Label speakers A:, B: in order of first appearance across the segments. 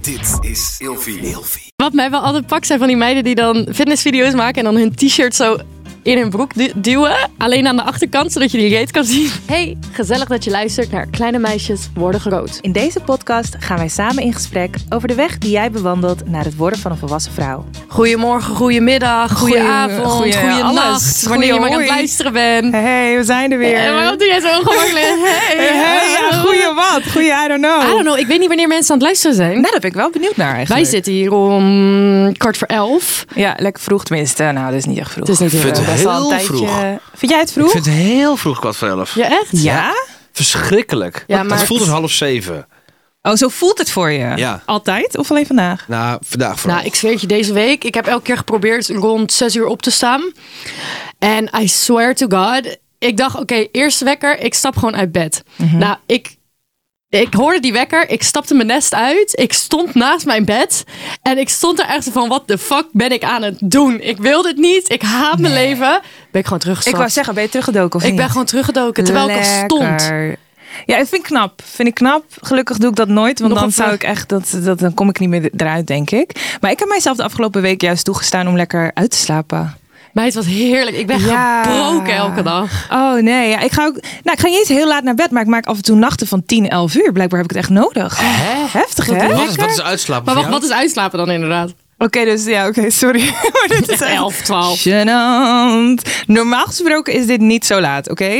A: Dit is Ilfie.
B: Wat mij wel altijd pakt zijn van die meiden die dan fitnessvideo's maken en dan hun t-shirt zo in hun broek du- duwen. Alleen aan de achterkant, zodat je die reet kan zien. Hey, gezellig dat je luistert naar Kleine Meisjes Worden Groot.
C: In deze podcast gaan wij samen in gesprek over de weg die jij bewandelt naar het worden van een volwassen vrouw.
B: Goedemorgen, goedemiddag, goedenavond,
C: goeie- alles.
B: goeienacht. Wanneer je maar aan het
C: Hoi.
B: luisteren bent.
C: Hey, we zijn er weer.
B: En waarom doe jij zo ongemakkelijk? Hey,
C: Hey, ja, goeie wat? Goeie, I don't know.
B: I don't know, ik weet niet wanneer mensen aan het luisteren zijn.
C: Nou, daar ben ik wel benieuwd naar eigenlijk.
B: Wij zitten hier om kwart voor elf.
C: Ja, lekker vroeg tenminste. Nou, dat is niet echt vroeg.
B: Het is niet heel
A: Vind-
B: erg.
C: Dat is al
A: Heel
C: een tijdje...
A: vroeg.
C: Vind jij het
A: Ik
C: vroeg?
A: vind het heel vroeg kwart voor elf.
B: Ja, echt?
C: Ja?
A: Verschrikkelijk.
B: Ja,
A: Het
B: maar-
A: voelt als half zeven.
C: Oh, zo voelt het voor je?
A: Ja.
C: Altijd of alleen vandaag?
A: Nou, vandaag vooral.
B: Nou, ik zweer het je, deze week, ik heb elke keer geprobeerd rond 6 uur op te staan. En I swear to God, ik dacht, oké, eerst wekker, ik stap gewoon uit bed.
C: Mhm.
B: Nou, ik, ik hoorde die wekker, ik stapte mijn nest uit, ik stond naast mijn bed. En ik stond er echt zo van, wat de fuck ben ik aan het doen? Ik wil dit niet, ik haat mijn leven. Ben ik gewoon
C: Ik
B: teruggestapt.
C: wou zeggen, ben je teruggedoken of
B: Ik
C: niet?
B: ben gewoon teruggedoken, terwijl ik al stond.
C: Lekker. Ja, dat vind ik knap. Vind ik knap. Gelukkig doe ik dat nooit, want
B: Nog
C: dan
B: een
C: zou
B: vraag.
C: ik echt dat, dat dan kom ik niet meer eruit, denk ik. Maar ik heb mijzelf de afgelopen week juist toegestaan om lekker uit te slapen.
B: Meid, wat heerlijk. Ik ben
C: Ja.
B: gebroken elke dag.
C: Oh nee, ja, ik ga ook. Nou, ik ga niet eens heel laat naar bed, maar ik maak af en toe nachten van 10, 11 uur. Blijkbaar heb ik het echt nodig. Heftig, hè?
A: wat,
C: Oké,
A: is, Dus wat is uitslapen
B: Maar wacht,
A: voor
B: wat is uitslapen dan inderdaad?
C: dus ja, oké, sorry. maar dit is echt
B: 11, 12.
C: gênant. Normaal gesproken is dit niet zo laat, oké?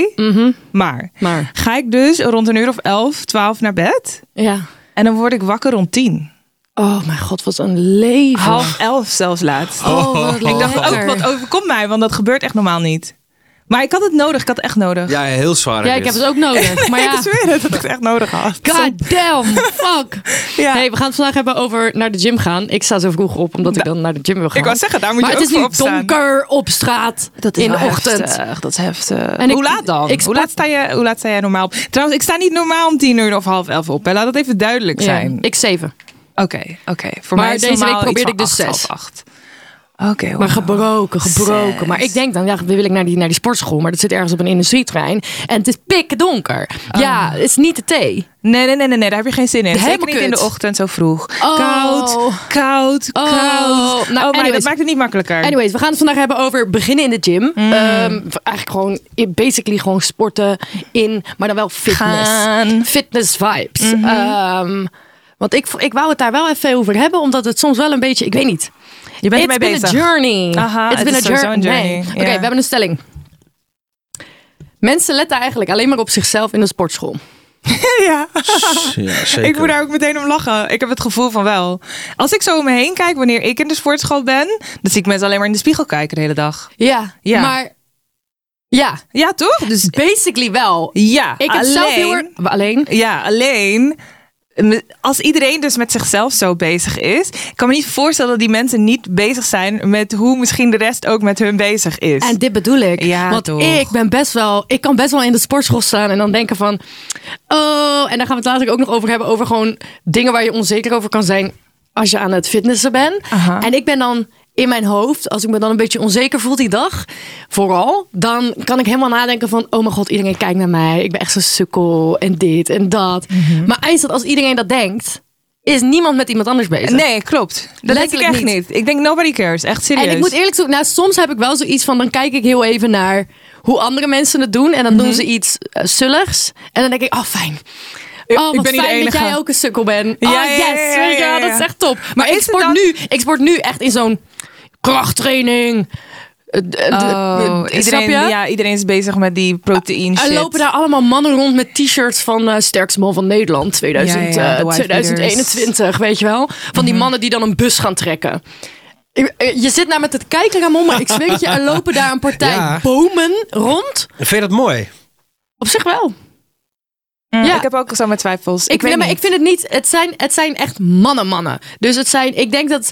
C: Maar
B: Mhm. Maar,
C: ga ik dus rond een uur of 11, 12 naar bed
B: ja.
C: en dan word ik wakker rond 10.
B: Oh mijn god, wat een leven.
C: Half elf zelfs laatst.
B: Oh, wat
C: Ik dacht ook,
B: lekker.
C: wat overkomt mij? Want dat gebeurt echt normaal niet. Maar ik had het nodig, ik had het echt nodig.
A: jou? Ja, heel zwaar.
B: Ja, ik
A: dit.
B: heb het ook nodig. Maar ja,
C: Ik zweer het, dat ik het echt nodig had.
B: god damn, fuck.
C: Ja.
B: Hey, we gaan het vandaag hebben over naar de gym gaan. Ik sta zo vroeg op, omdat ik dan naar de gym wil gaan.
C: Ik wou zeggen, daar moet
B: maar
C: je
B: het
C: ook
B: is nu
C: voor opstaan.
B: donker op straat in de ochtend.
C: dat is heftig.
B: En ik-
C: hoe laat dan?
B: ik
C: hoe,
B: sprak-
C: laat sta je, hoe laat sta jij normaal op? Trouwens, ik sta niet normaal om tien uur of half elf op. Hè. Laat dat even duidelijk
B: Ja,
C: zijn.
B: ik zeven.
C: Oké, oké. Voor
B: Maar
C: mij is
B: deze week
C: normaal iets
B: probeerde
C: van
B: ik dus
C: acht,
B: zes.
C: half acht. Oké,
B: Maar
C: wauw.
B: gebroken, gebroken.
C: Zes.
B: Maar ik denk dan, ja, wil ik naar die, naar die sportschool. Maar dat zit ergens op een industrietrein. En het is pikken donker. Ja, het is niet de thee.
C: Nee, nee, nee, nee, nee, daar heb je geen zin in. Zeker
B: Helemaal
C: niet in
B: kut.
C: de ochtend zo vroeg.
B: Oh.
C: Koud, koud,
B: Oh. Nou,
C: koud. oh, maar Mm. dat
B: anyways.
C: maakt het niet makkelijker.
B: Anyways, we gaan het vandaag hebben over beginnen in de gym. Ehm, eigenlijk gewoon, basically gewoon sporten in, maar dan wel fitness.
C: Gaan. Mhm.
B: Fitness vibes. Ehm, want ik, ik wou het daar wel even over hebben, omdat het soms wel een beetje, ik weet niet.
C: je bent
B: It's
C: ermee
B: been
C: bezig.
B: a journey.
C: Aha,
B: It's
C: het
B: been
C: is
B: a jour-
C: sowieso een journey.
B: Nee.
C: Ja.
B: Oké, we hebben een stelling. Mensen letten eigenlijk alleen maar op zichzelf in de sportschool.
C: ja,
A: Ja, zeker.
C: ik moet daar ook meteen om lachen. Ik heb het gevoel van wel. Als ik zo om me heen kijk, wanneer ik in de sportschool ben, dan zie ik mensen alleen maar in de spiegel kijken de hele dag.
B: Ja,
C: Ja.
B: maar ja,
C: Ja, toch? Dus
B: basically wel.
C: ja,
B: Ik heb
C: alleen,
B: zelf heel erg... Alleen?
C: Ja, alleen... m- Als iedereen dus met zichzelf zo bezig is, ik kan me niet voorstellen dat die mensen niet bezig zijn met hoe misschien de rest ook met hun bezig is.
B: En dit bedoel ik.
C: Ja,
B: want
C: toch.
B: ik ben best wel, ik kan best wel in de sportschool staan en dan denken van, oh, en dan gaan we het later ook nog over hebben over gewoon dingen waar je onzeker over kan zijn als je aan het fitnessen bent.
C: Aha.
B: En ik ben dan in mijn hoofd, als ik me dan een beetje onzeker voel die dag, vooral, dan kan ik helemaal nadenken van, oh mijn god, iedereen kijkt naar mij, ik ben echt zo'n sukkel en dit en dat.
C: Mhm.
B: Maar eindelijk als iedereen dat denkt, is niemand met iemand anders bezig.
C: Nee, klopt. Dat denk ik
B: Letterlijk
C: echt niet.
B: niet.
C: Ik denk nobody cares. Echt serieus.
B: En ik moet eerlijk zeggen, nou, soms heb ik wel zoiets van, dan kijk ik heel even naar hoe andere mensen het doen. En dan
C: Mhm.
B: doen ze iets eh, sulligs. En dan denk ik, oh fijn. Oh, wat
C: ben niet de
B: fijn dat
C: enige.
B: jij ook een sukkel bent.
C: Ja,
B: oh,
C: ja, ja,
B: yes.
C: ja,
B: weet je wel,
C: ja, ja.
B: dat is echt top. Maar,
C: Maar
B: ik,
C: is het
B: sport
C: dan-
B: nu, ik sport nu echt in zo'n krachttraining. Eh, d- eh, d-
C: Oh,
B: eh, snap
C: iedereen,
B: je?
C: ja, iedereen is bezig met die proteïne
B: Er
C: shit.
B: lopen daar allemaal mannen rond met t-shirts van eh sterkste man van Nederland 2000,
C: Ja, ja,
B: eh,
C: de Mhm. wife
B: 2021, weet je wel? Van die mannen die dan een bus gaan trekken. Ik- eh, Je zit nou met het kijken, Ramon, maar ik zweer het je, er lopen daar een partij
A: Ja.
B: bomen rond.
A: Vind je dat mooi?
B: Op zich wel.
C: Mm,
B: ja.
C: Ik heb ook zo mijn twijfels. Ik,
B: Ik,
C: weet
B: nee, maar
C: niet.
B: ik vind het niet, het zijn, het zijn echt mannen mannen. Dus het zijn, ik denk dat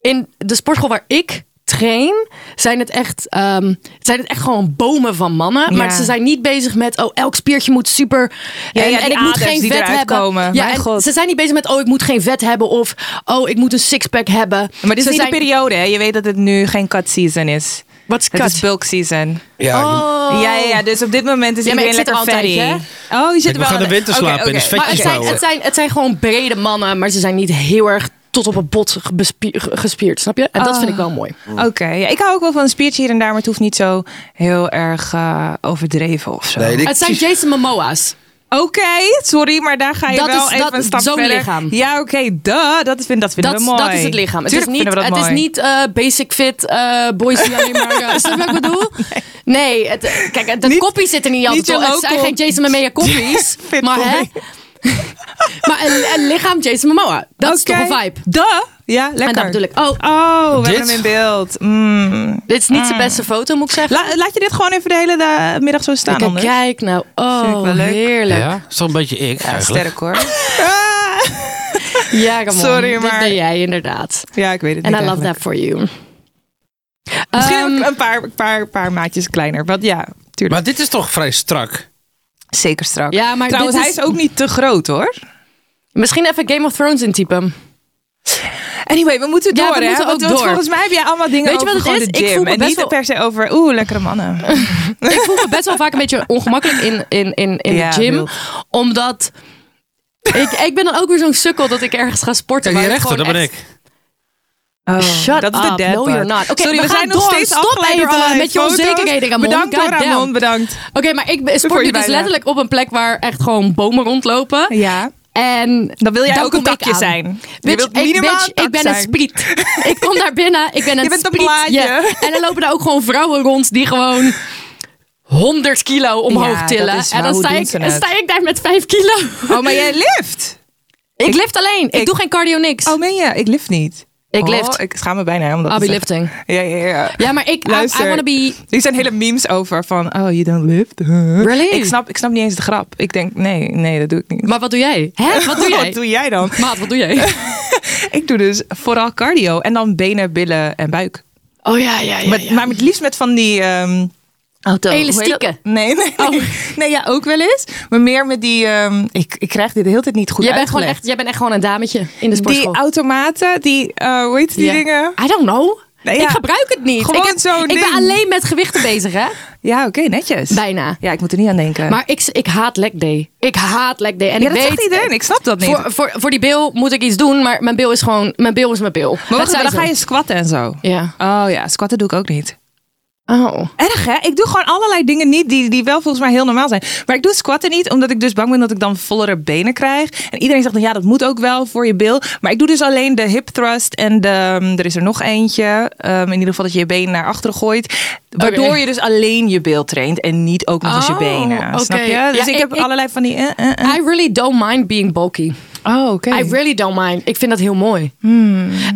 B: in de sportschool waar ik train, zijn het echt, ehm, zijn het echt gewoon bomen van mannen. Maar
C: Ja.
B: ze zijn niet bezig met, oh, elk spiertje moet super.
C: Ja,
B: en
C: ja,
B: en
C: die
B: ik moet
C: aders
B: geen
C: die
B: vet
C: eruit
B: hebben.
C: komen.
B: Ja,
C: Mijn
B: en
C: god.
B: Ze zijn niet bezig met, oh, ik moet geen vet hebben. Of, oh, ik moet een sixpack hebben.
C: Maar dit is
B: Ze
C: niet
B: zijn-
C: de periode, hè? Je weet dat het nu geen cut season is.
B: Wat is
C: Het
B: cut?
C: is bulk season.
A: Ja,
B: Oh.
C: Ja, ja, ja, dus op dit moment is
B: Ja, maar
C: iedereen
B: ik zit
C: lekker
B: er al een
C: fatty.
B: tijdje,
C: oh, je
A: Kijk,
C: zit
A: we
C: er wel
A: gaan de winter
C: Oké,
A: slapen in,
C: oké.
A: dus vet-
B: Maar het
A: Vetjes
B: zijn,
A: bouwen.
B: het, zijn, het zijn gewoon brede mannen, maar ze zijn niet heel erg tot op het bot bespie- ge- gespierd, snap je? En dat
C: Ah.
B: vind ik wel mooi.
C: Oké, ja, ik hou ook wel van een spiertje hier en daar, maar het hoeft niet zo heel erg eh, overdreven of zo.
A: Nee, dit-
B: Het zijn
A: precies.
B: Jason Momoa's.
C: Oké, sorry, maar daar ga je
B: Dat
C: wel
B: is-
C: even
B: dat-
C: een stap
B: zo'n
C: verder.
B: lichaam.
C: Ja, oké, duh, dat, vind, dat vinden
B: Dat,
C: we mooi.
B: dat is het lichaam. Het
C: Tuurlijk
B: is niet,
C: vinden we
B: het
C: dat
B: is
C: mooi.
B: niet eh, basic fit eh, boys die alleen maar... eh, snap je wat ik bedoel? Nee, het, kijk, de
C: Niet-
B: koppie zitten niet altijd
C: niet je
B: op. Het zijn
C: local-
B: geen Jason Momoa koppies.
C: Fit
B: maar hè?
C: boy.
B: maar een, een lichaam Jason Momoa. Dat
C: Oké,
B: is toch een vibe.
C: Duh, ja, lekker.
B: En dat bedoel ik. Oh,
C: Oh, we
A: Dit?
C: hebben hem in beeld. Mm.
B: dit is niet zijn beste foto, moet ik zeggen.
C: La- laat je dit gewoon even de hele da- middag zo staan
B: Kijk,
C: anders?
B: kijk nou. Oh,
C: Vind ik wel leuk.
B: heerlijk.
D: Ja, is toch een beetje ik
C: Ja,
D: eigenlijk.
C: sterk hoor. Ah,
B: Ja, come on.
C: Sorry,
B: Dit
C: maar-
B: ben jij inderdaad.
C: ja, ik weet het
B: En
C: niet
B: I love that
C: eigenlijk.
B: for you.
C: Misschien
B: Ehm,
C: ook een paar, paar, paar maatjes kleiner. Want ja, tuurlijk.
A: Maar dit is toch vrij strak?
C: Zeker strak.
B: Ja, maar
C: Trouwens,
B: dit
C: hij
B: is-
C: is ook niet te groot hoor.
B: misschien even Game of Thrones intypen.
C: Anyway, we moeten
B: Ja,
C: door
B: we
C: hè.
B: moeten ook
C: want, want
B: door.
C: volgens mij heb jij allemaal dingen
B: Weet je
C: over
B: wat het
C: gewoon
B: is?
C: de
B: Ik
C: gym.
B: voel me
C: en
B: best
C: niet
B: wel-
C: per se over, oeh, lekkere mannen.
B: Oh, ik voel me best wel vaak een beetje ongemakkelijk in, in, in, in
C: Ja,
B: de gym.
C: wild.
B: Omdat ik, ik ben dan ook weer zo'n sukkel dat ik ergens ga sporten.
A: Kijk, die
B: waar het
A: rechter, dat
B: gewoon
A: ben
B: echt-
A: ik.
C: Oh,
B: Shut
C: dat is de
B: up,
C: dad
B: no
C: part.
B: you're not. Oké,
C: Sorry,
B: we
C: we,
B: gaan
C: zijn nog
B: door.
C: steeds
B: Stop
C: afgeleid
B: even
C: door allerlei
B: met je
C: foto's.
B: onzekerheden, Ramon.
C: Bedankt hoor,
B: Goddamn.
C: Ramon, bedankt.
B: Oké, maar ik ben-
C: Voor
B: sport
C: je
B: nu dus
C: bijdrage.
B: letterlijk op een plek waar echt gewoon bomen rondlopen.
C: Ja.
B: En
C: Dan wil jij
B: daar
C: ook een
B: kom ik
C: takje
B: aan.
C: zijn.
B: Bitch,
C: je wilt
B: ik,
C: minimaal
B: bitch,
C: een tak
B: ik ben een
C: zijn.
B: spriet. ik kom daar binnen, ik ben een
C: Je bent een
B: spriet.
C: plaatje.
B: ja. En dan lopen daar ook gewoon vrouwen rond die gewoon 100 kilo omhoog
C: Ja, dat
B: tillen.
C: is
B: en
C: waar.
B: dan
C: Hoe
B: sta,
C: doen
B: ik,
C: ze
B: dan
C: het?
B: sta ik daar met 5 kilo.
C: Oh, maar jij lift.
B: ik, lift alleen, ik,
C: ik-
B: doe geen cardio niks.
C: Oh, meen je? Ik lift niet.
B: Ik
C: Oh,
B: lift.
C: Ik schaam me bijna. Omdat
B: I'll
C: het
B: be
C: echt-
B: lifting.
C: Ja, ja, ja.
B: Ja, maar ik, I- I,
C: Luister.
B: wanna be...
C: Er zijn hele memes over van, oh, you don't lift. Huh?
B: Really?
C: Ik snap, ik snap niet eens de grap. Ik denk, nee, nee, dat doe ik niet.
B: Maar wat doe jij? Hè? Wat doe jij?
C: Wat doe jij dan?
B: Maat, wat doe jij?
C: Ik doe dus vooral cardio en dan benen, billen en buik.
B: Oh ja, ja, ja.
C: Met,
B: ja.
C: Maar het liefst met van die... ehm Auto.
B: Elastieken.
C: Nee, nee, nee.
B: Oh.
C: Nee, ja, ook wel eens. Maar meer met die... ehm, ik, ik krijg dit de hele tijd niet goed
B: jij, bent gewoon
C: uitgelegd.
B: echt, jij bent echt gewoon een dametje in de
C: die
B: sportschool.
C: automaten, die... eh hoe heet die
B: Ja.
C: dingen?
B: I don't know.
C: Nee, ja.
B: Ik gebruik het niet.
C: Gewoon
B: ik, heb-
C: zo'n
B: ik ben
C: ding.
B: alleen met gewichten bezig, hè?
C: Ja, oké, netjes.
B: Bijna.
C: Ja, ik moet er niet aan denken.
B: Maar ik, ik haat leg day. Ik haat leg day. En
C: ja,
B: ik
C: dat
B: weet,
C: zegt iedereen. Ik snap dat niet.
B: Voor, voor, voor die bil moet ik iets doen, maar mijn bil is gewoon... Mijn bil is mijn bil.
C: maar
B: Dat
C: wacht,
B: zei
C: even, dan
B: ze.
C: ga je squatten en zo.
B: Ja.
C: Oh ja, squatten doe ik ook niet.
B: Oh.
C: Erg hè? Ik doe gewoon allerlei dingen niet die, die wel volgens mij heel normaal zijn. Maar ik doe squatten niet omdat ik dus bang ben dat ik dan vollere benen krijg. En iedereen zegt dan ja, dat moet ook wel voor je bil. Maar ik doe dus alleen de hip thrust en de, ehm, er is er nog eentje. Ehm, in ieder geval dat je je benen naar achteren gooit. Waardoor
B: Oké.
C: je dus alleen je bil traint en niet ook nog eens je
B: Oh,
C: benen. Snap
B: oké.
C: je? Dus
B: Ja,
C: ik,
B: ik-
C: heb
B: ik-
C: allerlei van die... eh, eh, eh.
B: I really don't mind being bulky.
C: Oh, oké.
B: I really don't mind. Ik vind dat heel mooi.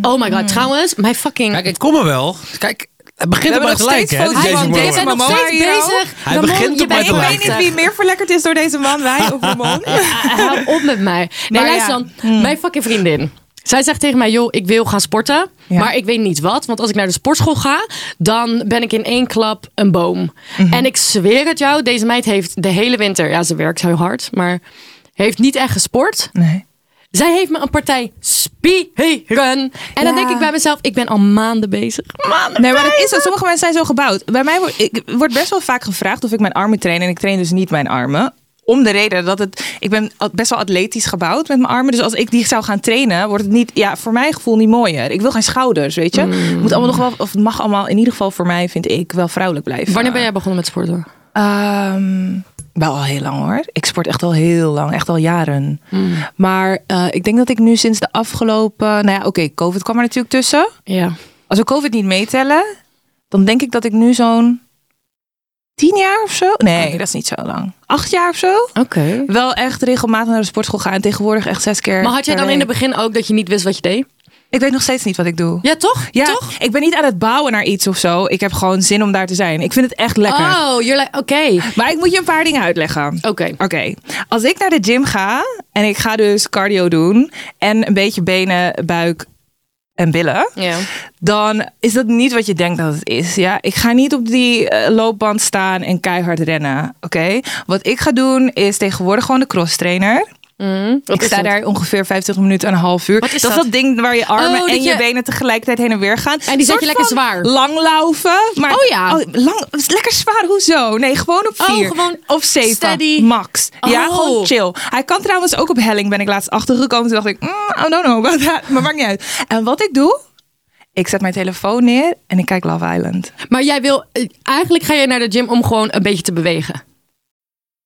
B: Oh my god. Trouwens, mijn fucking...
A: Kijk, ik kom er wel. Kijk, het begint op mij te
C: hebben nog steeds
A: lijken. hè,
C: foto's
A: die
B: Hij
C: van
A: Jason
B: is
C: deze
A: Momoa.
B: nog
C: Momoa
B: steeds
C: hier al.
B: bezig.
A: Hij
B: Ramon,
A: begint
B: je
A: op mij
B: bent
A: te
B: echt
C: ik
A: lijken.
C: weet niet wie meer verlekkerd is door deze man, wij of Ramon.
B: Ah, Hou op met mij. Nee,
C: Maar
B: luister
C: ja.
B: dan. Mijn fucking vriendin. Zij zegt tegen mij, joh, ik wil gaan sporten.
C: Ja.
B: Maar ik weet niet wat. Want als ik naar de sportschool ga, dan ben ik in één klap een boom. En ik zweer het jou, deze meid heeft de hele winter... Ja, ze werkt heel hard, maar heeft niet echt gesport.
C: Nee.
B: Zij heeft me een partij spieren. En dan
C: Ja.
B: denk ik bij mezelf, ik ben al maanden bezig. Maanden
C: Nee, maar dat is dat. Sommige mensen zijn zo gebouwd. Bij mij wordt, ik, wordt best wel vaak gevraagd of ik mijn armen train. En ik train dus niet mijn armen. Om de reden dat het. Ik ben at- best wel atletisch gebouwd met mijn armen. Dus als ik die zou gaan trainen, wordt het niet. Ja, voor mijn gevoel niet mooier. Ik wil geen schouders, weet je. Moet allemaal nog wel, of het mag allemaal in ieder geval voor mij, vind ik, wel vrouwelijk blijven.
B: Wanneer ben jij begonnen met sporten?
C: Ehm, wel al heel lang hoor. Ik sport echt al heel lang, echt al jaren. Maar eh, ik denk dat ik nu sinds de afgelopen. Nou ja, oké, COVID kwam er natuurlijk tussen.
B: Ja.
C: Als we COVID niet meetellen, dan denk ik dat ik nu zo'n tien jaar of zo. Nee, dat is niet zo lang. Acht jaar of zo.
B: Oké.
C: Wel echt regelmatig naar de sportschool gaan. En tegenwoordig echt zes keer.
B: Maar had jij
C: per
B: dan in het
C: week.
B: begin ook dat je niet wist wat je deed?
C: Ik weet nog steeds niet wat ik doe.
B: Ja, toch?
C: Ja,
B: Toch?
C: ik ben niet aan het bouwen naar iets of zo. Ik heb gewoon zin om daar te zijn. Ik vind het echt lekker.
B: Oh, you're like, oké.
C: Maar ik moet je een paar dingen uitleggen.
B: Oké.
C: Oké, als ik naar de gym ga en ik ga dus cardio doen en een beetje benen, buik en billen,
B: Ja.
C: dan is dat niet wat je denkt dat het is. Ja, ik ga niet op die eh, loopband staan en keihard rennen. Oké, wat ik ga doen is tegenwoordig gewoon de cross trainer. ik sta daar ongeveer 25 minuten en een half uur.
B: Wat is
C: dat is
B: dat?
C: dat ding waar je armen
B: Oh, dat
C: en je,
B: je-
C: benen tegelijkertijd heen en weer gaan.
B: En die zet
C: Soort
B: je lekker
C: van
B: zwaar.
C: Langlaufen. Maar,
B: Oh ja.
C: lang, lekker zwaar, hoezo? Nee, gewoon op
B: Oh,
C: vier.
B: gewoon
C: of zeven.
B: steady.
C: Max. Ja,
B: Oh.
C: gewoon chill. Hij kan trouwens ook op helling, ben ik laatst achtergekomen. Toen dacht ik, mm, I don't know about that. Maar maakt niet uit. En wat ik doe... Ik zet mijn telefoon neer en ik kijk Love Island.
B: Maar jij wil, eh, eigenlijk ga je naar de gym om gewoon een beetje te bewegen.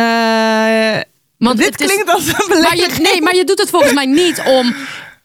C: Eh,
B: Want
C: dit
B: het is-
C: klinkt als een
B: Maar je,
C: belediging.
B: nee, maar je doet het volgens mij niet om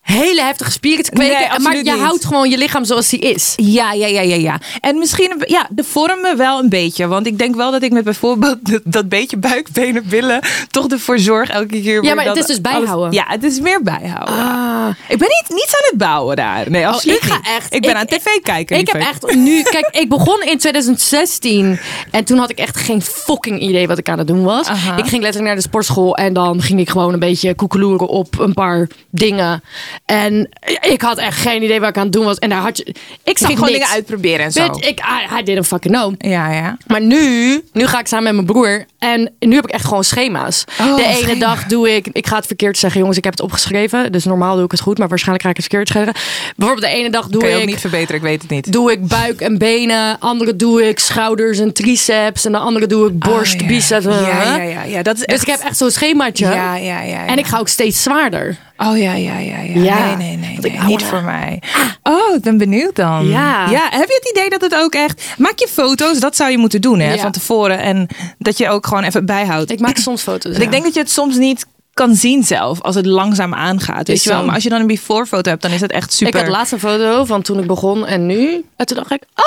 B: hele heftige spieren te kweken.
C: Nee,
B: maar je
C: absoluut niet.
B: houdt gewoon je lichaam zoals die is.
C: Ja, ja, ja, ja, ja. En misschien een be- ja, de vormen wel een beetje. Want ik denk wel dat ik met bijvoorbeeld dat, dat beetje buik, benen, billen... toch ervoor zorg elke keer weer
B: maar
C: dat
B: het is dus
C: alles-
B: bijhouden. Ah.
C: ja, het is meer bijhouden. Ik ben niet, niet aan het bouwen daar. Nee,
B: Oh,
C: absoluut
B: ik ga
C: niet.
B: echt.
C: Ik ben aan tv kijken.
B: Ik heb
C: liever.
B: echt nu. Kijk, ik begon in 2016. En toen had ik echt geen fucking idee wat ik aan het doen was.
C: Aha.
B: Ik ging letterlijk naar de sportschool. En dan ging ik gewoon een beetje koekeloeren op een paar dingen. En ik had echt geen idee wat ik aan het doen was. En daar had je. Ik zag
C: ging gewoon
B: niks.
C: dingen uitproberen en zo.
B: Bitch, ik, I, I didn't fucking know.
C: Ja, ja.
B: Maar nu, nu ga ik samen met mijn broer. En nu heb ik echt gewoon schema's.
C: Oh,
B: de ene
C: schema.
B: dag doe ik. Ik ga het verkeerd zeggen, jongens. Ik heb het opgeschreven. Dus normaal doe ik het goed. Maar waarschijnlijk ga ik het verkeerd zeggen. Bijvoorbeeld, de ene dag doe
C: Kun je
B: ik.
C: ook niet verbeteren, ik weet het niet.
B: Doe ik buik en benen. Andere doe ik schouders en triceps. En de andere doe ik borst,
C: Oh, ja.
B: biceps.
C: Ja,
B: eh.
C: ja, ja, ja. Dat is
B: Dus
C: echt-
B: ik heb echt zo'n schemaatje.
C: Ja, ja, ja,
B: En
C: ja.
B: ik ga ook steeds zwaarder.
C: Oh ja, ja, ja, ja.
B: Ja.
C: Nee, nee, nee.
B: Want
C: nee.
B: ik hou
C: Niet
B: er- Ah.
C: voor mij. Oh, ik ben benieuwd dan.
B: Ja.
C: ja. Heb je het idee dat het ook echt. Maak je foto's, dat zou je moeten doen hè,
B: Ja.
C: van tevoren. En dat je ook gewoon even bijhoudt.
B: Ik maak soms foto's.
C: Want
B: ja.
C: ik denk dat je het soms niet kan zien zelf als het langzaam aangaat. Weet
B: Is
C: je wel?
B: zo.
C: Maar als je dan een before foto hebt, dan is dat echt super.
B: Ik had laatst een foto van toen ik begon en nu. En toen dacht ik, ah,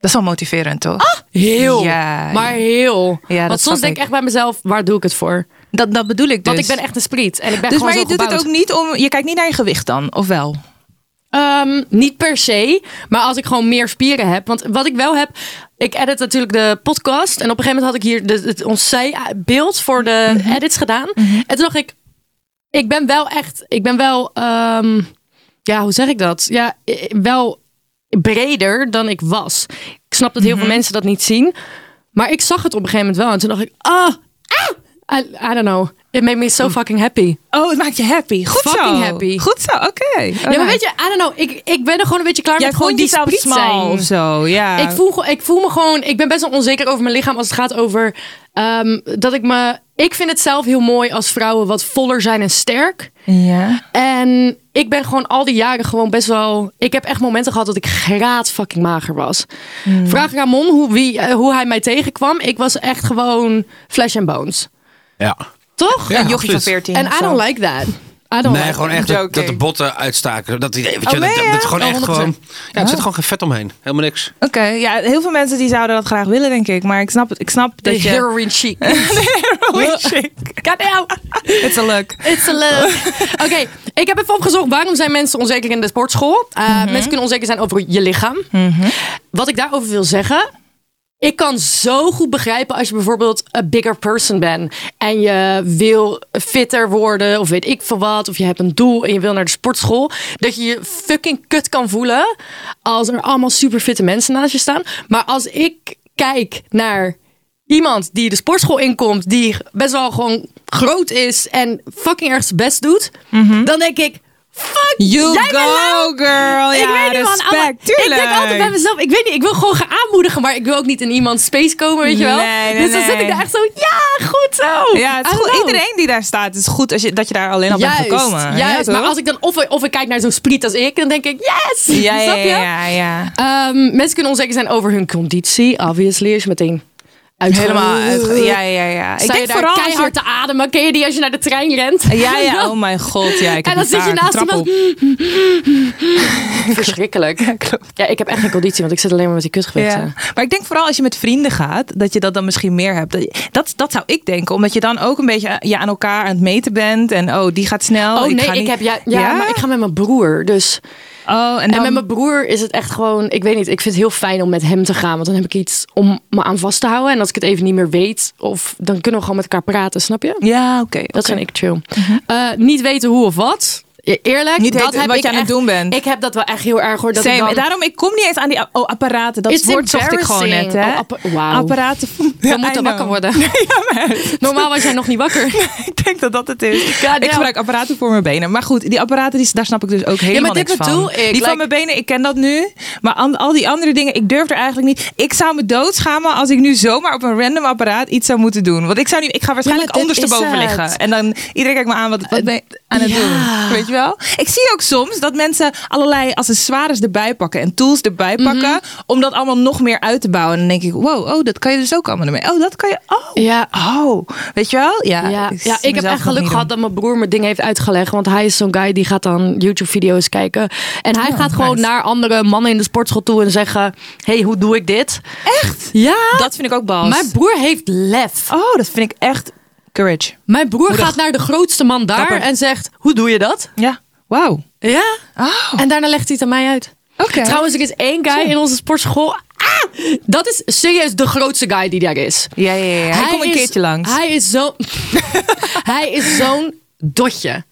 C: Dat is wel motiverend toch?
B: heel.
C: Ja.
B: Maar heel.
C: Ja, dat
B: Want soms
C: snap
B: denk
C: ik.
B: ik echt bij mezelf, waar doe ik het voor?
C: Dat, dat bedoel ik dus.
B: Want ik ben echt een spriet. En ik ben
C: Dus
B: gewoon
C: maar
B: zo
C: je doet het ook
B: gebouwd.
C: niet om. Je kijkt niet naar je gewicht dan, of wel?
B: Ehm, niet per se, maar als ik gewoon meer spieren heb. Want wat ik wel heb, ik edit natuurlijk de podcast. En op een gegeven moment had ik hier de, het, ons zijbeeld voor de
C: Mhm.
B: edits gedaan. En toen dacht ik, ik ben wel echt, ik ben wel, ehm, ja, hoe zeg ik dat? Ja, eh, wel breder dan ik was. Ik snap dat heel
C: Mhm.
B: veel mensen dat niet zien. Maar ik zag het op een gegeven moment wel. En toen dacht ik, ah, ah, I, I don't know. It made me
C: Mm.
B: so fucking happy.
C: Oh, het maakt je happy. Goed
B: Fucking
C: zo.
B: happy.
C: Goed zo. Oké.
B: Ja, maar weet je, I don't know. Ik, ik ben er gewoon een beetje klaar
C: Jij
B: met gewoon
C: vond
B: die
C: jezelf
B: spriet zijn.
C: smal of zo. Ja.
B: Ik voel, gewoon- ik voel me gewoon... Ik ben best wel onzeker over mijn lichaam als het gaat over... ehm, dat ik me... Ik vind het zelf heel mooi als vrouwen wat voller zijn en sterk.
C: Ja.
B: En ik ben gewoon al die jaren gewoon best wel... Ik heb echt momenten gehad dat ik graad fucking mager was. Vraag Ramon hoe, wie, eh, hoe hij mij tegenkwam. Ik was echt gewoon flesh and bones.
A: Ja.
B: Toch?
A: Ja,
B: En
C: Jochie van
A: absoluut.
C: 14.
B: en I don't like that. I don't
A: Nee,
B: like
A: gewoon
B: that.
A: echt dat,
C: Joking.
A: dat de botten uitstaken. Dat idee, weet je,
C: Oh,
A: dat,
C: nee,
A: dat, dat
C: hè?
A: gewoon
B: Oh,
A: echt
B: 100%.
A: gewoon... Ja,
C: Oh.
A: er zit gewoon geen vet omheen. Helemaal niks.
C: Oké, ja, heel veel mensen die zouden dat graag willen, denk ik. Maar ik snap, het- ik snap
B: De
C: dat je...
B: heroin chic.
C: heroin chic.
B: Goddamn.
C: It's a look.
B: It's a love. Oké, ik heb even opgezocht waarom zijn mensen onzeker in de sportschool. Eh, Mensen kunnen onzeker zijn over je lichaam. Wat ik daarover wil zeggen. Ik kan zo goed begrijpen als je bijvoorbeeld een bigger person bent. En je wil fitter worden of weet ik veel wat. Of je hebt een doel en je wil naar de sportschool. Dat je je fucking kut kan voelen als er allemaal super fitte mensen naast je staan. Maar als ik kijk naar iemand die de sportschool inkomt, die best wel gewoon groot is en fucking ergens zijn best doet, dan denk ik. Fuck
C: Mhm. You
B: jij bent nou-
C: go,
B: lauw.
C: girl.
B: ik
C: Oh Ja,
B: weet niet, man.
C: respect,
B: Alle- Ik denk
C: tuurlijk.
B: altijd bij mezelf, ik weet niet, ik wil gewoon gaan aanmoedigen, maar ik wil ook niet in iemands space komen, weet je wel.
C: Nee, nee,
B: dus dan zit
C: nee.
B: ik daar echt zo, ja, goed zo.
C: Ja, het
B: I
C: is goed.
B: don't know.
C: Iedereen die daar staat, het is goed als je, dat je daar alleen al bent gekomen. Ja,
B: juist.
C: toch?
B: maar als ik dan of, of ik kijk naar zo'n spriet als ik, dan denk ik, yes!
C: Ja, ja,
B: Snap je?
C: ja, ja.
B: Ehm, mensen kunnen onzeker zijn over hun conditie, obviously. Als je meteen uitge-
C: Helemaal uitge- Ja, ja, ja.
B: Sta je daar
C: als je-
B: keihard te ademen. Ken je die als je naar de trein rent?
C: Ja, ja, oh mijn god. Ja, ik
B: En
C: heb
B: dan zit
C: een
B: je
C: vaak
B: naast
C: een trap
B: iemand.
C: op.
B: Verschrikkelijk. Ja, ik heb echt geen conditie, want ik zit alleen maar met die kutgewichten.
C: Ja. eh, Maar ik denk vooral als je met vrienden gaat, dat je dat dan misschien meer hebt. Dat- Dat, dat zou ik denken, omdat je dan ook een beetje eh, je aan elkaar aan het meten bent. En oh, die gaat snel.
B: Oh nee,
C: ga
B: ik,
C: niet-
B: heb ja, ja, maar ik ga met mijn broer. Dus
C: Oh, en,
B: en
C: dan,
B: met mijn broer is het echt gewoon, ik weet niet, ik vind het heel fijn om met hem te gaan, want dan heb ik iets om me aan vast te houden. En als ik het even niet meer weet, of dan kunnen we gewoon met elkaar praten, snap je?
C: Ja, oké.
B: Dat
C: oké. Mhm.
B: vind ik chill. Eh, niet weten hoe of wat. Ja, Eerlijk,
C: Niet
B: dat
C: weten
B: heb
C: wat
B: ik
C: je aan het
B: echt-
C: doen bent.
B: Ik heb dat wel echt heel erg hoor. Dat
C: Same.
B: ik dan,
C: Daarom, ik kom niet eens aan die oh, apparaten. Dat
B: It's
C: woord zocht ik gewoon net.
B: embarrassing.
C: Hè?
B: Oh, appa- wauw.
C: Apparaten.
B: we moeten wakker worden. Normaal was jij nog niet wakker.
C: ik denk dat dat het is.
B: damn.
C: ik gebruik apparaten voor mijn benen. Maar goed, die apparaten, die, daar snap ik dus ook helemaal
B: dit
C: niks van.
B: bedoel ik.
C: Die
B: Like-
C: van mijn benen, ik ken dat nu. Maar an- al die andere dingen, ik durf er eigenlijk niet. Ik zou me doodschamen als ik nu zomaar op een random apparaat iets zou moeten doen. Want ik zou nu, ik ga waarschijnlijk
B: Ja, maar dit
C: ondersteboven
B: is het. Eh,
C: liggen. En dan iedereen kijkt me aan, wat, wat ben je aan het
B: Ja.
C: doen? Weet je wel? Ik zie ook soms dat mensen allerlei accessoires erbij pakken en tools erbij
B: Mhm.
C: pakken. Om dat allemaal nog meer uit te bouwen. En dan denk ik, wow, oh, dat kan je dus ook allemaal ermee. Oh, dat kan je, oh.
B: Ja.
C: Oh, weet je wel? Ja,
B: Ja,
C: ik,
B: ja,
C: zie
B: ik heb
C: mezelf
B: echt
C: nog
B: geluk
C: niet
B: gehad
C: doen.
B: dat mijn broer mijn ding heeft uitgelegd. Want hij is zo'n guy die gaat dan YouTube-video's kijken. En hij gaat gewoon
C: Oh, nice.
B: naar andere mannen in de sportschool toe en zeggen: hey, hoe doe ik dit? Echt? Ja.
C: Dat vind ik ook bals.
B: Mijn broer heeft lef.
C: Oh, dat vind ik echt courage.
B: Mijn broer gaat naar de grootste man daar
C: Dapper.
B: en zegt: Hoe doe je dat?
C: Ja. Wauw.
B: Ja.
C: Oh.
B: En daarna legt hij het aan mij uit.
C: Oké.
B: Trouwens, er is één guy in onze sportschool. Ah, dat is serieus de grootste guy die daar is.
C: Ja, ja, ja. Hij, komt een
B: is-
C: keertje langs.
B: Hij is zo- hij is zo'n dotje.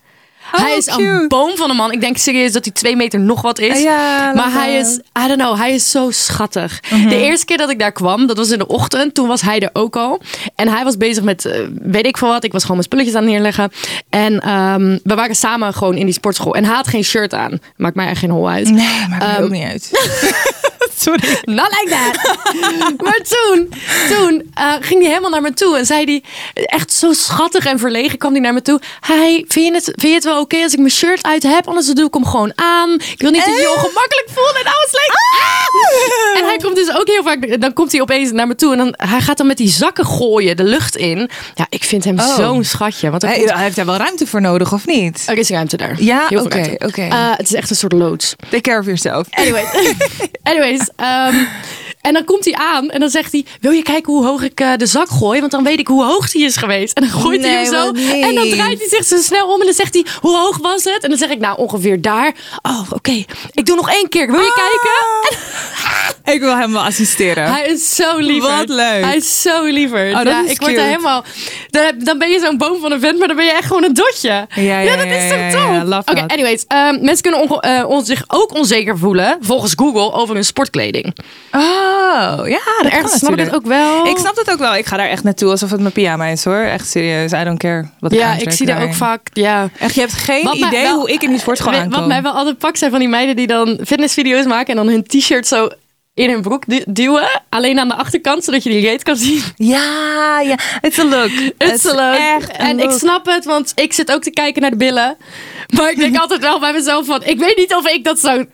B: hij is
C: Oh, cute. Ah,
B: een boom van een man. Ik denk serieus dat hij twee meter nog wat is.
C: Ja, Mhm.
B: maar
C: love
B: hij
C: that.
B: is, I don't know, hij is zo schattig. De eerste keer dat ik daar kwam, dat was in de ochtend. Toen was hij er ook al. En hij was bezig met, eh, weet ik veel wat. Ik was gewoon mijn spulletjes aan het neerleggen. En ehm, we waren samen gewoon in die sportschool. En hij had geen shirt aan. Maakt mij echt geen hol uit.
C: Nee, maakt
B: Ehm,
C: mij ook niet uit. Sorry.
B: Not like that. maar toen, toen eh, ging hij helemaal naar me toe en zei hij, echt zo schattig en verlegen kwam hij naar me toe. Hij, vind je het, vind je het wel oké als ik mijn shirt uit heb? Anders doe ik hem gewoon aan. Ik wil niet dat je
C: Eh?
B: je ongemakkelijk voelt. En I was like, ah! En hij komt dus ook heel vaak, dan komt hij opeens naar me toe en dan, hij gaat dan met die zakken gooien de lucht in. Ja, ik vind hem
C: Oh.
B: zo'n schatje. Want er,
C: Hij,
B: komt-
C: hij heeft daar wel ruimte voor nodig, of niet?
B: er is ruimte daar.
C: Ja,
B: Heel veel
C: oké,
B: ruimte.
C: oké.
B: Eh, het is echt een soort loods.
C: Take care of yourself.
B: Anyways, anyways ehm, en dan komt hij aan en dan zegt hij: Wil je kijken hoe hoog ik eh, de zak gooi? Want dan weet ik hoe hoog die is geweest. En dan gooit hij
C: Nee,
B: hem zo.
C: wat lief.
B: En dan draait hij zich zo snel om en dan zegt hij: Hoe hoog was het? En dan zeg ik: Nou, ongeveer daar. Oh, oké. Ik doe nog één keer. Wil je
C: Ah!
B: kijken?
C: kijken? Ik wil hem wel assisteren.
B: Hij is zo liever.
C: Wat leuk.
B: Hij is zo liever.
C: Oh, dat
B: ja,
C: is
B: ik word
C: cute.
B: er helemaal. Dan, dan ben je zo'n boom van een vent, maar dan ben je echt gewoon een dotje. Ja,
C: ja,
B: dat
C: ja,
B: is
C: ja,
B: zo
C: ja,
B: tof.
C: love
B: Oké,
C: that.
B: anyways. ehm, mensen kunnen onge- eh, on- zich ook onzeker voelen, volgens Google, over hun sportkleding.
C: Oh, ja, dat kan
B: Ergens snap ik
C: natuurlijk.
B: het ook wel.
C: Ik snap dat ook wel. Ik ga daar echt naartoe alsof het mijn pyjama is, hoor. Echt serieus. I don't care wat ik
B: Ja, ik
C: aantrek
B: zie daar ook
C: daarin.
B: vaak. Ja.
C: Echt, je hebt geen
B: Wat mij
C: idee
B: wel-
C: hoe ik in die sportschool
B: Weet-
C: aankom.
B: Wat mij wel altijd pakt zijn van die meiden die dan fitnessvideo's maken en dan hun t-shirt zo in hun broek du- duwen. Alleen aan de achterkant, zodat je die reet kan zien.
C: Ja, ja. It's a look.
B: It's
C: Het is
B: alone.
C: Echt een
B: en ik
C: look.
B: snap het, want ik zit ook te kijken naar de billen. Maar ik denk altijd wel bij mezelf van, ik weet niet of ik dat zou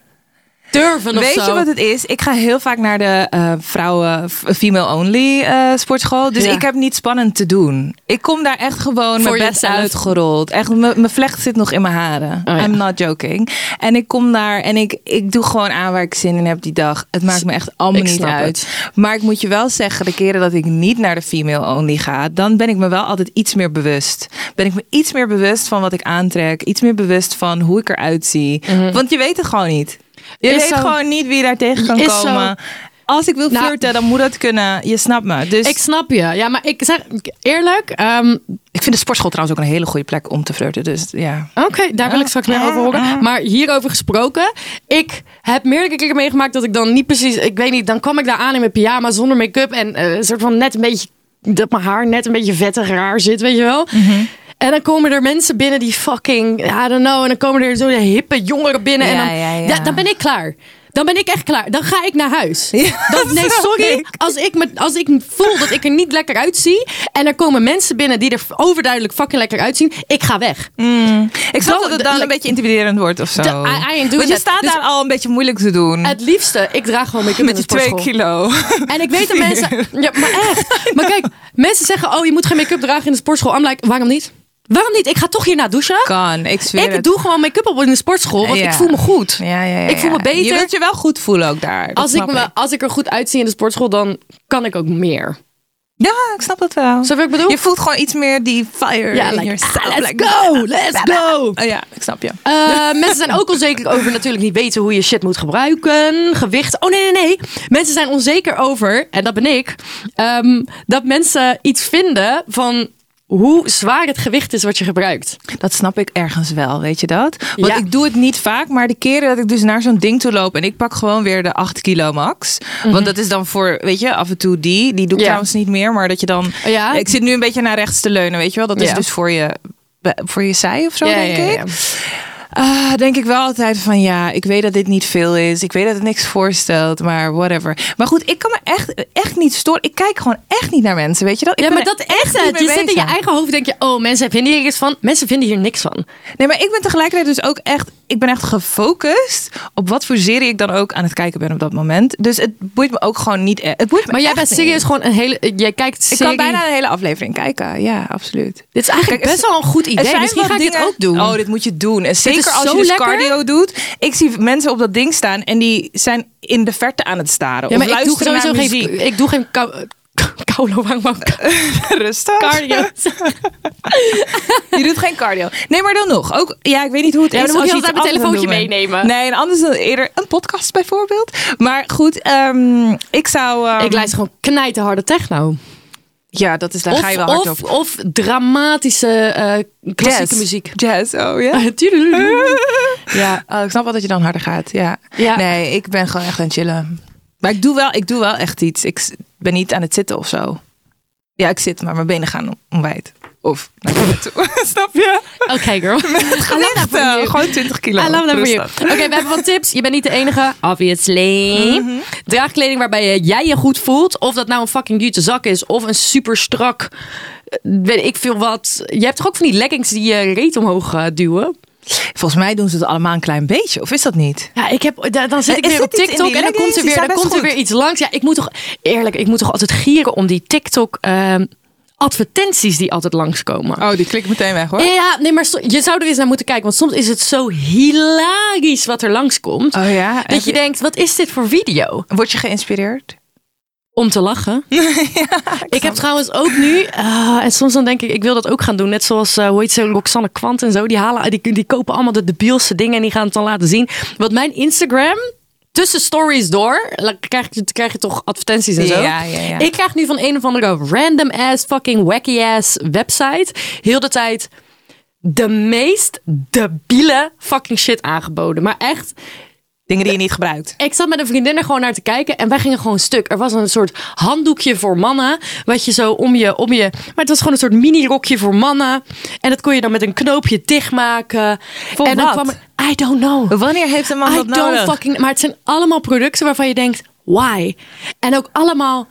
B: durven of
C: Weet
B: zo.
C: je wat het is? Ik ga heel vaak naar de eh, vrouwen f- female-only eh, sportschool. Dus
B: Ja.
C: ik heb niet spannend te doen. Ik kom daar echt gewoon
B: Voor
C: mijn bed
B: jezelf.
C: uitgerold. Echt, m- mijn vlecht zit nog in mijn haren.
B: Oh, ja.
C: I'm not joking. En ik kom daar en ik, ik doe gewoon aan waar ik zin in heb die dag. Het maakt me echt allemaal
B: Ik
C: niet
B: snap
C: uit. Maar ik moet je wel zeggen, de keren dat ik niet naar de female-only ga... dan ben ik me wel altijd iets meer bewust. Ben ik me iets meer bewust van wat ik aantrek. Iets meer bewust van hoe ik eruit zie.
B: Mhm.
C: Want je weet het gewoon niet. Je
B: Is
C: weet
B: zo.
C: gewoon niet wie daar tegen kan
B: Is zo.
C: komen. Als ik wil
B: Nou.
C: flirten, dan moet dat kunnen. Je snapt me. Dus
B: Ik snap je. Ja, maar ik zeg eerlijk, ehm,
C: ik vind de sportschool trouwens ook een hele goede plek om te flirten. Dus ja.
B: Oké, daar wil ik straks meer over
C: Ah.
B: horen. Maar hierover gesproken, ik heb meerdere keren meegemaakt dat ik dan niet precies, ik weet niet, dan kwam ik daar aan in mijn pyjama zonder make-up en eh, een soort van net een beetje, dat mijn haar net een beetje vettig raar zit, weet je wel.
C: Mhm.
B: En dan komen er mensen binnen die fucking, I don't know, en dan komen er zo'n hippe jongeren binnen en
C: Ja,
B: dan,
C: ja, ja.
B: Da- dan ben ik klaar. Dan ben ik echt klaar. Dan ga ik naar huis.
C: Ja,
B: Dan, nee,
C: snap
B: sorry.
C: ik.
B: Als ik, me, als ik voel dat ik er niet lekker uitzie. En er komen mensen binnen die er overduidelijk fucking lekker uitzien. Ik ga weg.
C: Ik snap
B: Dan-
C: dat het dan
B: like-
C: een beetje intimiderend wordt of zo.
B: Da- I- I ain't doing
C: Want je
B: that.
C: staat
B: Dus-
C: daar al een beetje moeilijk te doen.
B: Het liefste, ik draag gewoon make-up in
C: met
B: de
C: je twee
B: sportschool.
C: kilo.
B: En ik weet dat mensen... Ja, maar echt. Maar kijk, mensen zeggen... Oh, je moet geen make-up dragen in de sportschool. I'm like, waarom niet? Waarom niet? Ik ga toch hierna douchen.
C: Kan, ik zweer
B: Ik
C: het.
B: doe gewoon make-up op in de sportschool. Want
C: Ja.
B: ik voel me goed.
C: Ja, ja, ja,
B: Ik voel me
C: ja.
B: beter.
C: Je wilt je wel goed voelen ook daar. Dat
B: Als ik,
C: snap
B: me, als ik er goed uitzie in de sportschool, dan kan ik ook meer.
C: Ja, ik snap dat wel.
B: Snap je wat ik bedoel?
C: Je voelt gewoon iets meer die fire
B: Ja,
C: in
B: like,
C: yourself.
B: ah, let's
C: Like,
B: go, let's go.
C: Oh ja, ik snap je.
B: Eh, mensen zijn ook onzeker over natuurlijk niet weten hoe je shit moet gebruiken. Gewicht. Oh nee, nee, nee. Mensen zijn onzeker over, en dat ben ik, ehm, dat mensen iets vinden van hoe zwaar het gewicht is wat je gebruikt.
C: Dat snap ik ergens wel, weet je dat? Want
B: Ja.
C: ik doe het niet vaak, maar de keren dat ik dus naar zo'n ding toe loop en ik pak gewoon weer de 8 kilo max. Want dat is dan voor, weet je, af en toe die. Die doe ik
B: Mhm. Ja.
C: trouwens niet meer, maar dat je dan.
B: Ja.
C: Ik zit nu een beetje naar rechts te leunen, weet je wel? Dat is
B: Ja.
C: dus voor je, voor je zij of zo,
B: Ja,
C: denk
B: ja, ja.
C: ik. Ah, denk ik wel altijd van ja, ik weet dat dit niet veel is. Ik weet dat het niks voorstelt, maar whatever. Maar goed, ik kan me echt, echt niet storen. Ik kijk gewoon echt niet naar mensen, weet je dat? Ik
B: Ja,
C: ben
B: maar
C: er
B: dat echt.
C: niet
B: het.
C: mee
B: Je zit in je
C: bezig.
B: eigen hoofd denk je, oh, mensen vinden hier iets van. Mensen vinden hier niks van.
C: Nee, maar ik ben tegelijkertijd dus ook echt... Ik ben echt gefocust op wat voor serie ik dan ook aan het kijken ben op dat moment. Dus het boeit me ook gewoon niet... e- Het boeit me
B: Maar jij
C: echt
B: bent
C: niet.
B: serieus gewoon een hele. Jij kijkt.
C: Ik
B: serie-
C: kan bijna een hele aflevering kijken. Ja, absoluut.
B: Dit is eigenlijk
C: Kijk, er
B: best wel een goed
C: Er
B: idee.
C: zijn
B: Misschien
C: wel
B: ga ik dit
C: dingen-
B: ook doen.
C: Oh, dit moet je doen. En zeker
B: is
C: als
B: zo
C: je dus
B: lekker.
C: cardio doet. Ik zie mensen op dat ding staan en die zijn in de verte aan het staren.
B: ja,
C: of
B: maar ik doe
C: luisteren
B: sowieso
C: naar muziek.
B: geen. Ik doe geen kou- koulo, waarom wou ik
C: Rustig.
B: cardio.
C: Je doet geen cardio. Nee, maar dan nog. Ook, ja, ik weet niet hoe het
B: Ja,
C: is.
B: maar dan moet je
C: als
B: altijd
C: iets
B: mijn
C: anders aan
B: telefoontje
C: het doen
B: meenemen.
C: bent. Nee, en anders dan eerder een podcast bijvoorbeeld. Maar goed, ehm, ik zou... ehm,
B: Ik luister gewoon knijterharde techno.
C: Ja, dat is, daar ga je wel hard
B: of,
C: op.
B: of dramatische eh, klassieke
C: Jazz.
B: muziek.
C: Jazz, oh ja.
B: Tudeludu.
C: ja, oh, ik snap wel dat je dan harder gaat. Ja.
B: Ja.
C: Nee, ik ben gewoon echt aan het chillen. Maar ik doe, wel, ik doe wel echt iets. Ik s- ben niet aan het zitten of zo. Ja, ik zit, maar mijn benen gaan om- omwijd. Of naar binnen toe. Snap je?
B: Oké, girl. I love that for
C: Echt, eh,
B: you.
C: gewoon 20 kilo.
B: I love that for you.
C: Rustig.
B: Oké, we hebben wat tips. Je bent niet de enige. Obviously.
C: Mhm.
B: Draag kleding waarbij jij je goed voelt. Of dat nou een fucking jute zak is. Of een super strak. eh, Weet ik veel wat. Je hebt toch ook van die leggings die je reet omhoog eh, duwen?
C: Volgens mij doen ze het allemaal een klein beetje, of is dat niet?
B: Ja, ik heb, da- dan zit ik
C: Eh, Is
B: weer
C: dit
B: op
C: iets in die
B: TikTok en dan
C: leggings?
B: komt er
C: Die
B: weer,
C: staan
B: dan
C: best
B: komt er
C: goed.
B: weer iets langs. Ja, ik moet toch, eerlijk, ik moet toch altijd gieren om die TikTok ehm, advertenties die altijd langskomen.
C: Oh, die klik meteen weg hoor.
B: Ja, nee, maar so- je zou er eens naar moeten kijken. Want soms is het zo hilarisch wat er langskomt.
C: Oh ja, heb
B: Dat je
C: je-
B: denkt, wat is dit voor video?
C: Word je geïnspireerd?
B: Om te lachen. ik heb trouwens ook nu, ah, en soms dan denk ik, ik wil dat ook gaan doen. Net zoals, eh hoe heet ze, Roxanne Kwant en zo. Die, halen, die, die kopen allemaal de debielste dingen en die gaan het dan laten zien. Want mijn Instagram, tussen stories door, la- krijg je, krijg je toch advertenties en zo.
C: Ja, ja, ja.
B: Ik krijg nu van een of andere random ass, fucking wacky ass website, heel de tijd de meest debiele fucking shit aangeboden. Maar echt,
C: Dingen die je niet gebruikt.
B: ik zat met een vriendin er gewoon naar te kijken en wij gingen gewoon stuk. Er was een soort handdoekje voor mannen, wat je zo om je, om je... Maar het was gewoon een soort mini-rokje voor mannen. En dat kon je dan met een knoopje dichtmaken.
C: Voor
B: en dan
C: wat?
B: kwam er... I don't know.
C: Wanneer heeft een man
B: I
C: dat
B: don't
C: nodig?
B: fucking... Maar het zijn allemaal producten waarvan je denkt, why? En ook allemaal...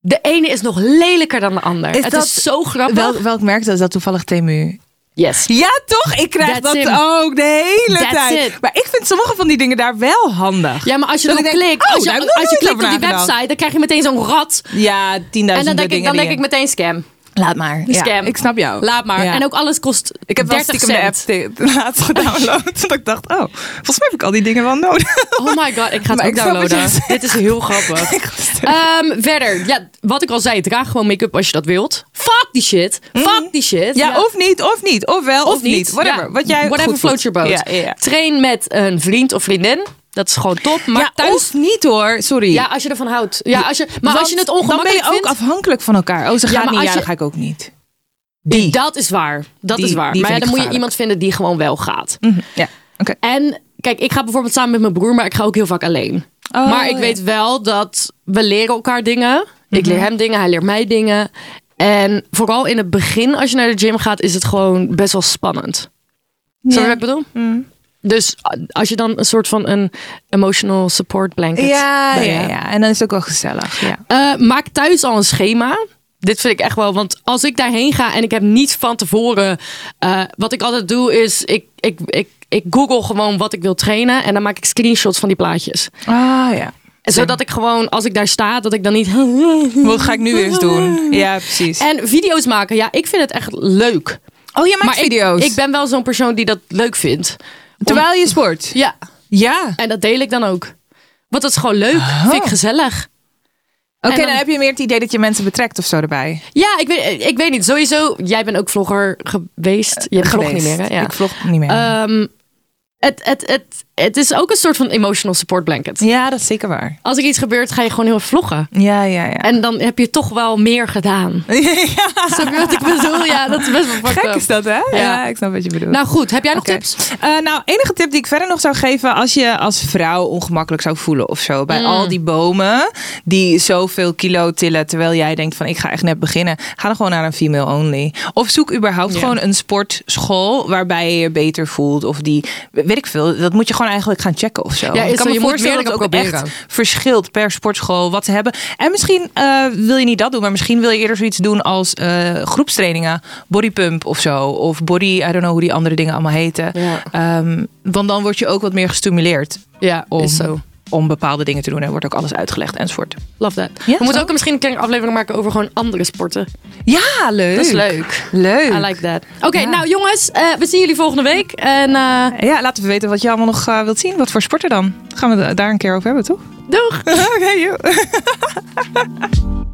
B: De ene is nog lelijker dan de ander.
C: Is
B: het
C: dat-
B: is zo grappig.
C: Welk, welk merk is dat? Is dat toevallig Temu?
B: yes.
C: Ja, toch? Ik krijg
B: That's
C: dat
B: him.
C: ook de hele
B: That's
C: tijd.
B: it.
C: Maar ik vind sommige van die dingen daar wel handig.
B: Ja, maar als je
C: Dat
B: dan
C: ik denk,
B: klikt,
C: oh,
B: als je,
C: daar heb ik nog
B: als je
C: nooit
B: klikt op
C: over
B: die
C: nagedacht.
B: website, dan krijg je meteen zo'n rat.
C: Ja, 10.000 dingen.
B: En dan denk, ik, dan denk ik meteen scam.
C: Laat maar. Ja,
B: Scam.
C: ik snap jou.
B: Laat maar.
C: Ja.
B: En ook alles kost
C: Ik heb wel
B: 30
C: stiekem de app
B: cent.
C: te- laatst gedownload. Want ik dacht, oh, volgens mij heb ik al die dingen wel nodig.
B: Oh my god, ik ga het
C: Maar
B: ook
C: ik snap dus. wat je
B: downloaden.
C: zegt.
B: Dit is heel grappig. Ehm, verder, ja, wat ik al zei, draag gewoon make-up als je dat wilt. Fuck die shit. Fuck die shit.
C: Mhm. Ja, of niet, of niet. Of wel, of,
B: Of niet.
C: Whatever.
B: Ja,
C: Wat jij
B: whatever
C: goed
B: floats your
C: voelt.
B: boat.
C: Ja, ja, ja.
B: Train met een vriend of vriendin. Dat is gewoon top. Maar
C: ja,
B: thuis...
C: of niet hoor, sorry.
B: Ja, als je ervan houdt. Ja, als je, maar
C: Want
B: als je het ongemakkelijk
C: Dan ben je ook
B: vindt...
C: afhankelijk van elkaar. Oh, ze
B: Ja,
C: gaan
B: maar
C: niet,
B: als
C: ja,
B: je-
C: dan ga ik ook niet. Die.
B: Dat is waar. Dat
C: Die-
B: is waar.
C: die
B: Maar ja, dan
C: vind ik
B: moet je
C: gevaarlijk.
B: iemand vinden die gewoon wel gaat.
C: Mhm, Ja, oké.
B: En kijk, ik ga bijvoorbeeld samen met mijn broer, maar ik ga ook heel vaak alleen.
C: Oh,
B: maar ik
C: ja. Mhm.
B: weet wel dat we leren elkaar dingen. Ik leer hem dingen, hij leert mij dingen. En vooral in het
C: Mhm.
B: begin, als je naar de gym gaat, is het gewoon best wel spannend. Zo Snap je wat ik bedoel? Dus a- als je dan een soort van een emotional support blanket.
C: Ja,
B: bij je
C: ja,
B: hebt.
C: ja. En dan is het ook wel gezellig. Ja.
B: Eh, maak thuis al een schema. Dit vind ik echt wel, want als ik daarheen ga en ik heb niet van tevoren. eh, wat ik altijd doe is, ik, ik, ik, ik google gewoon wat ik wil trainen. En dan maak ik screenshots van die plaatjes.
C: Ah ja.
B: Zodat ik gewoon, als ik daar sta, dat ik dan niet.
C: Wat ga ik nu eens doen? Ja, precies.
B: En video's maken, ja, ik vind het echt leuk.
C: oh, je maakt
B: ik-
C: video's.
B: Ik, ben wel zo'n persoon die dat leuk vindt.
C: Terwijl je sport.
B: Ja,
C: Ja.
B: en dat deel ik dan ook. Want dat is gewoon leuk.
C: Ah.
B: Vind ik gezellig.
C: Oké,
B: En dan-
C: dan, heb je meer het idee dat je mensen betrekt of zo erbij.
B: Ja, ik weet, ik weet niet. Sowieso, jij bent ook vlogger geweest. Je vlogt niet
C: Geweest.
B: meer, hè? Ja.
C: Ik vlog niet meer.
B: Ehm, het, het, het, het is ook een soort van emotional support blanket.
C: ja, dat is zeker waar.
B: Als er iets gebeurt, ga je gewoon heel erg vloggen.
C: Ja, ja, ja.
B: En dan heb je toch wel meer gedaan. Snap je wat ik bedoel? Ja, dat is best wel fucked
C: Gek
B: up.
C: is dat, hè? Ja,
B: Ja,
C: ik snap wat je bedoelt.
B: Nou goed, heb jij nog
C: Oké.
B: tips?
C: Eh, nou, enige tip die ik verder nog zou geven als je als vrouw ongemakkelijk zou voelen of zo.
B: Mm.
C: Bij al die bomen die zoveel kilo tillen terwijl jij denkt van ik ga echt net beginnen. Ga dan gewoon naar een female only. Of zoek überhaupt gewoon een sportschool waarbij je je beter voelt. Of die, weet ik veel, dat moet je gewoon eigenlijk gaan checken of zo.
B: Ja,
C: ik
B: is zo,
C: kan me
B: je moet
C: voorstellen dat
B: meerdere
C: het ook
B: proberen.
C: echt verschilt per sportschool wat ze hebben. En misschien eh, wil je niet dat doen, maar misschien wil je eerder zoiets doen als eh, groepstrainingen. Bodypump of zo. Of body, I don't know hoe die andere dingen allemaal heten.
B: Ja.
C: Ehm, want dan word je ook wat meer gestimuleerd
B: Ja,
C: om,
B: is zo.
C: om bepaalde dingen te doen. En wordt ook alles uitgelegd enzovoort.
B: Love that.
C: Ja,
B: We moeten
C: zo.
B: ook misschien een kleine aflevering maken over gewoon andere sporten.
C: Ja, leuk.
B: Dat is leuk.
C: Leuk.
B: I like that. Oké,
C: Ja.
B: nou jongens, eh, we zien jullie volgende week. En eh,
C: Ja, laten we weten wat je allemaal nog eh, wilt zien. Wat voor eh, sporten dan? Gaan we da- daar een keer over hebben, toch?
B: doeg!
C: Oké, joh.